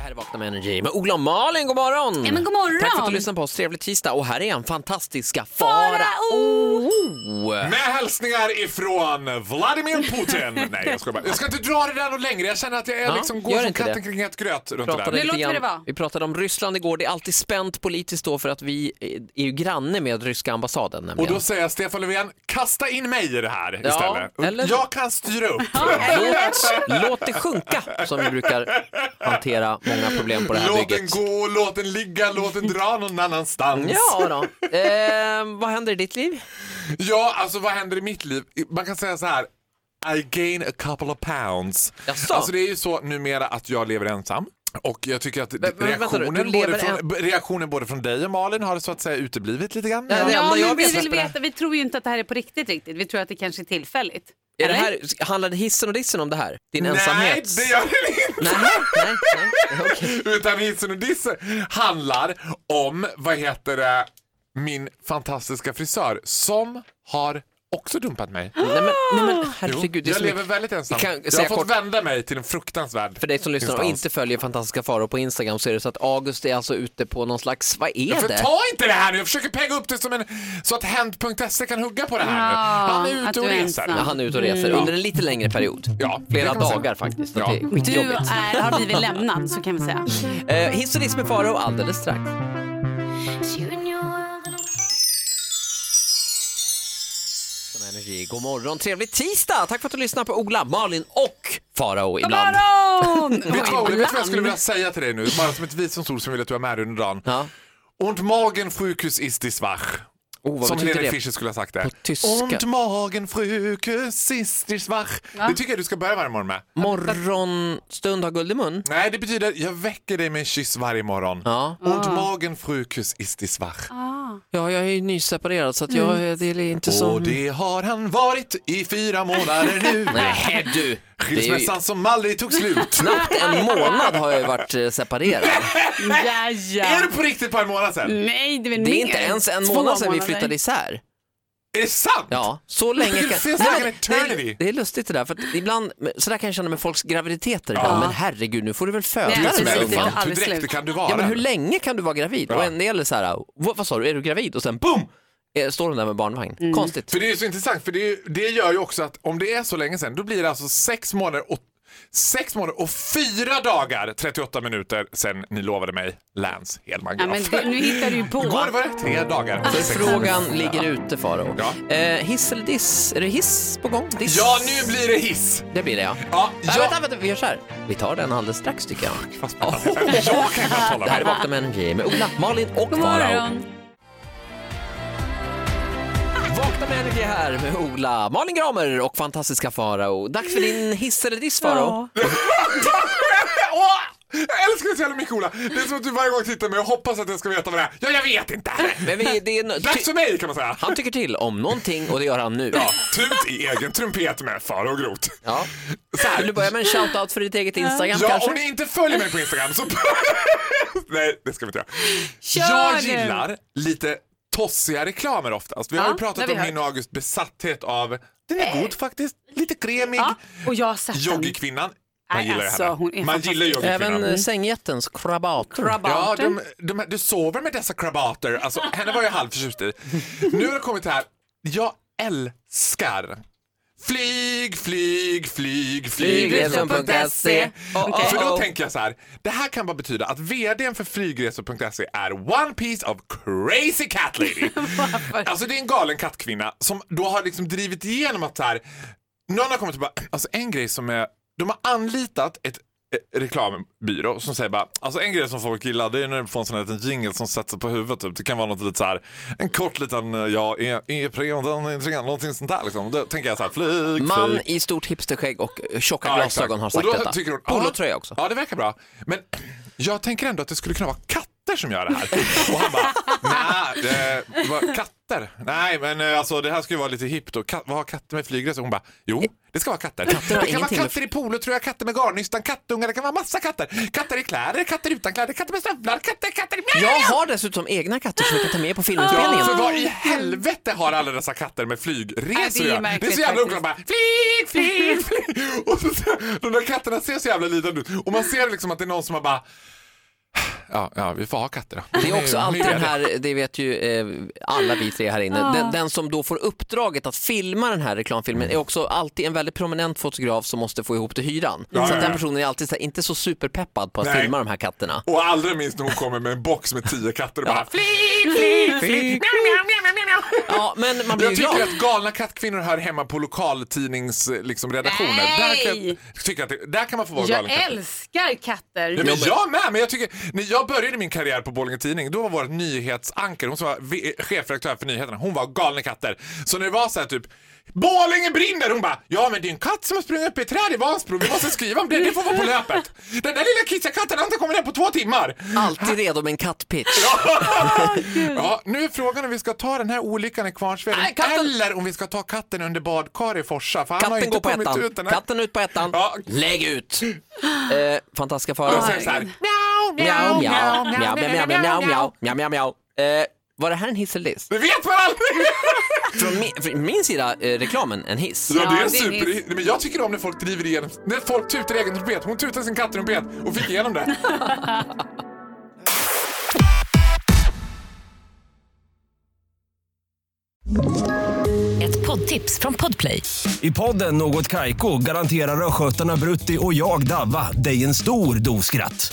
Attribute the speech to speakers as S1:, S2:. S1: här är Vakna med Energy med Ola och Malin, god morgon!
S2: Ja, men god morgon!
S1: Tack för att du lyssnade på oss, trevlig tisdag och här är han, fantastiska
S2: Farao!
S1: Farao!
S3: Med hälsningar ifrån Vladimir Putin. Nej, jag ska bara. Jag ska inte dra det där något längre. Jag känner att jag är
S1: Ja,
S3: liksom
S1: gör
S3: går som
S1: inte
S3: katten
S1: det.
S3: kring het gröt runt det
S1: Pratade
S3: där.
S2: Nu
S1: lite
S2: låter det
S1: grann,
S2: vara.
S1: vi pratade om Ryssland igår, det är alltid spänt politiskt då för att vi eh, är ju granne med ryska ambassaden
S3: Och
S1: nämligen.
S3: då säger jag Stefan Löfven, kasta in mig i det här
S1: Ja,
S3: istället.
S1: eller-
S3: Jag kan styra upp.
S1: Låt, låt det sjunka, som vi brukar hantera många problem på det här
S3: Låt den
S1: bygget.
S3: gå, låt den ligga, låt den dra någon annanstans.
S1: Ja då. Eh, vad händer i ditt liv?
S3: Ja, alltså vad händer i mitt liv? Man kan säga så här. I gain a couple of pounds.
S1: Jaså?
S3: Alltså det är ju så numera att jag lever ensam. Och jag tycker att
S1: men vänta nu,
S3: reaktionen,
S1: du
S3: både
S1: lever
S3: från, reaktionen både från dig och Malin har så att säga uteblivit lite grann.
S1: Ja, det-
S2: Ja,
S1: enda jag
S2: men vi
S1: vet
S2: vill
S1: om det här.
S2: veta, vi tror ju inte att det här är på riktigt riktigt. Vi tror att det kanske är tillfälligt.
S1: Är det
S2: Eller?
S1: här, handlade hissen och dissen om det här? Din
S3: Nej,
S1: ensamhet?
S3: det gör den inte!
S1: Nej, nej, nej. okej.
S3: Utan hissen och dissen handlar om, vad heter det, min fantastiska frisör som har också dumpat mig.
S1: Nej men, nej, men herregud, det är
S3: jag
S1: så
S3: lever
S1: mycket
S3: väldigt ensam.
S1: Kan-
S3: jag har
S1: säga
S3: fått
S1: kort-
S3: vända mig till en fruktansvärd
S1: för dig som lyssnar och
S3: instans.
S1: inte följer Fantastiska Farao på Instagram så är det så att August är alltså ute på någon slags, vad
S3: Ja,
S1: är
S3: för
S1: det?
S3: ta inte det här nu! Jag försöker pegga upp det som en, så att Hent.se E kan hugga på det här nu.
S2: Ja,
S3: Han är
S2: att
S3: ute och
S2: du är
S3: reser.
S1: Ja,
S2: ensam.
S1: han är ute och reser under en lite längre period.
S3: Ja, det
S1: Flera
S3: kan man säga.
S1: dagar faktiskt.
S3: Ja.
S1: Det är
S2: Du
S1: skitjobbigt.
S2: är, har blivit lämnad, så kan vi säga.
S1: Eh, hiss och diss med Farao alldeles strax. Som Energy. God morgon, trevlig tisdag! Tack för att du lyssnar på Ola, Malin och Farao ibland.
S2: Baron!
S3: Vet du vad, Olle, vet du vad jag skulle vilja säga till dig nu? Bara som ett visdomsord som jag vill att du har med dig under dagen.
S1: Ja.
S3: Und magen sjukhus ist die schwach.
S1: Oh, vad
S3: som
S1: betyder
S3: Helene
S1: det?
S3: Fischer skulle ha sagt det.
S1: På tyska.
S3: Und magen sjukhus ist die schwach. Det tycker jag du ska börja varje morgon med.
S1: Morgonstund har guld i mun.
S3: Nej, det betyder jag väcker dig med en kyss varje morgon.
S1: Ja.
S3: Und magen sjukhus ist die schwach.
S1: ja, jag är ju nyseparerad så att jag, det är inte
S3: Och det har han varit i fyra månader nu.
S1: Nej du! Det är ju...
S3: Skilsmässan som aldrig tog slut.
S1: Knappt en månad har jag ju varit eh, separerad.
S2: Ja,
S3: Är
S2: ja. Mm.
S3: det på riktigt på en månad sedan?
S2: Nej, det är väl
S1: Det
S2: mer.
S1: är inte ens en
S2: Två
S1: månad sedan vi
S2: månader.
S1: flyttade isär.
S3: Är det sant?
S1: Ja, så länge
S3: Det feels
S1: Nej,
S3: like
S1: men
S3: an
S1: det är-
S3: eternity.
S1: Det är lustigt det där, för att ibland, så där kan jag känna med folks graviditeter ibland, men herregud nu får du väl föda
S2: Nej,
S1: den
S2: det är
S3: Men
S1: där ungen.
S2: precis, det är
S3: hur
S2: aldrig
S3: direkt
S2: slut.
S3: kan du vara?
S1: Ja men hur länge kan du vara gravid?
S3: Ja.
S1: Och en del är så här, vad, vad sa du, är du gravid? Och sen boom! eh, Står hon där med barnvagn.
S2: Mm.
S1: Konstigt.
S3: För det är ju så intressant, för det, är, ju- det gör ju också att om det är så länge sedan, då blir det alltså sex månader och, sex månader och fyra dagar, 38 minuter, sen ni lovade mig Lance Hedman
S2: Ja, men
S3: Graf.
S2: det, nu hittar du ju på.
S3: Igår var det tre dagar.
S1: Så
S3: Sex
S1: frågan
S3: månader.
S1: ligger ute Farao.
S3: Ja.
S1: Eh, hiss eller diss? Är det hiss på gång? Diss?
S3: Ja, nu blir det hiss!
S1: Det blir det ja.
S3: Ja,
S1: Nej,
S3: ja.
S1: Vänta, vänta, vi gör så här. Vi tar den alldeles strax tycker jag.
S3: Vad spännande. Jag kan knappt hålla
S1: Det här är
S3: mig.
S1: Vakna med Energy med Ola, Malin och
S2: God
S1: Farao.
S2: morgon.
S1: Vakna med Energy här med Ola, Malin Gramer och fantastiska Farao. Dags för din hiss eller diss Farao.
S3: Åh! Jag älskar dig så jävla mycket Ola. Det är som att du varje gång tittar på mig och hoppas att jag ska veta vad det är. Ja, jag vet inte!
S1: Men vi, det är no- ty-
S3: Dags för mig kan man säga.
S1: han tycker till om någonting och det gör han nu.
S3: Ja, tut i egen trumpet med far och grot.
S1: Ja.
S3: Så här.
S1: Vill du börja med en shoutout för ditt eget Instagram
S3: Ja,
S1: kanske?
S3: om ni inte följer mig på Instagram så... Nej, det ska vi inte göra.
S2: Kör
S3: jag
S2: nu.
S3: gillar lite tossiga reklamer oftast. Vi har
S2: Ja,
S3: ju pratat
S2: det har vi
S3: om min och Augusts besatthet av, den är god faktiskt, lite kremig.
S2: Ja, och jag har sett den.
S3: Joggikvinnan. Man
S2: Nej,
S3: gillar
S2: alltså,
S3: henne.
S2: hon är
S3: Man
S2: fantastisk.
S3: gillar joggikvinnan.
S1: Även eh, sängjättens krabater.
S3: Ja,
S2: Krabaten.
S3: de, de, här- du sover med dessa krabater. Alltså, henne var jag halvförtjust i. Nu har det kommit här. Jag älskar flyg, flyg, flyg,
S1: Flygresor.se.
S3: flygresor.se.
S1: Oh, oh,
S3: För
S1: oh.
S3: då tänker jag så här. Det här kan bara betyda att vdn för flygresor.se är one piece of crazy cat lady. alltså det är en galen kattkvinna som då har liksom drivit igenom att så här. Någon har kommit och bara, alltså en grej som är, de har anlitat ett eh, reklambyrå som säger bara, alltså en grej som folk gillar det är när du får en sån här liten jingle som sätter på huvudet typ. Det kan vara något lite så här, en kort liten, eh, ja, E- E-Preon, den är intrigant, någonting sånt där liksom. Då tänker jag så här, flyg,
S1: Man
S3: flyg.
S1: i stort hipsterskägg och eh, tjocka
S3: Ja, exakt.
S1: glasögon har sagt
S3: och då
S1: detta.
S3: Tycker hon, ja,
S1: Polotröja också.
S3: Ja, det verkar bra. Men jag tänker ändå att det skulle kunna vara katter som gör det här. Och han bara, nej, det var katt katter? Nej, men eh, alltså det här ska ju vara lite hippt. Och kat- vad har katter med flygresor? Hon bara, jo, det ska vara katter.
S1: Katter har
S3: det kan vara
S1: ingenting med-
S3: katter i polotröja, katter med garnnystan, kattungar, det kan vara massa katter. Katter i kläder, katter utan kläder, katter med stövlar, katter, katter...
S1: Jag har dessutom egna katter som jag kan ta med på
S3: Ja,
S1: filminspelningen.
S3: för vad i helvete har alla dessa katter med
S2: Nej, det
S3: flygresor
S2: är
S3: att göra? Det är
S2: märkligt
S3: så jävla
S2: faktiskt.
S3: oklart. Bara, Flyg, flyg, flyg. Och så, ser- de där katterna ser så jävla lidande ut. Och man ser liksom att det är någon som har bara... Ja, ja, vi får ha katter då.
S1: Det är också alltid den
S3: det.
S1: här, det vet ju eh, alla vi tre här inne, den, den som då får uppdraget att filma den här reklamfilmen är också alltid en väldigt prominent fotograf som måste få ihop till hyran.
S3: Ja,
S1: så
S3: ja,
S1: att den
S3: ja.
S1: personen är alltid så här, inte så superpeppad på att
S3: Nej.
S1: filma de här katterna.
S3: Och allra minst när hon kommer med en box med tio katter och bara...
S2: Flyg, flyg, flyg.
S1: Ja, men man blir
S3: Jag
S1: ju
S3: tycker
S1: glad.
S3: att galna kattkvinnor hör hemma på lokaltidningsredaktioner. Liksom, redaktioner. där, kan jag
S2: Nej.
S3: tycka att det- där kan man få vara galen
S2: Jag
S3: katt.
S2: älskar katter.
S3: Ja, men jag med, men jag tycker, när jag började min karriär på Borlänge Tidning, då var vår nyhetsanker, hon som var v- chefredaktör för nyheterna, hon var galna katter. Så när det var så här typ Borlänge brinner! Hon bara, ja men det är en katt som har sprungit upp i ett träd i Vansbro, vi måste skriva om det, det får vara på löpet. Den där lilla kissakatten, han har inte kommit ner på två timmar.
S1: Alltid redo med en kattpitch.
S3: Ja, nu är frågan om vi ska ta den här olyckan i Kvarnsveden
S1: Nej, katten-
S3: eller om vi ska ta katten under badkar i Forsa, för han har
S1: Katten
S3: inte
S1: går på
S3: kommit
S1: ettan.
S3: ut den här.
S1: Katten ut på ettan.
S3: Ja.
S1: Lägg ut! Eh, fantastiska faror.
S3: Och sen så här,
S1: Mjau, mjau, mjau, mjau, mjau, mjau, mjau, mjau, mjau, mjau. Eh, Var det här en hiss eller diss?
S3: det vet man aldrig!
S1: Från min, från min sida, eh, reklamen, en hiss.
S3: Ja, det är
S2: Ja,
S3: en
S2: det är
S3: super...
S2: nyss.
S3: Men jag tycker om när folk driver igenom... När folk tutar egen trumpet. Hon tutade sin kattrumpet och fick igenom det.
S4: Ett poddtips från Podplay.
S5: I podden Något Kaiko garanterar östgötarna Brutti och jag, Davva, dig en stor dos skratt.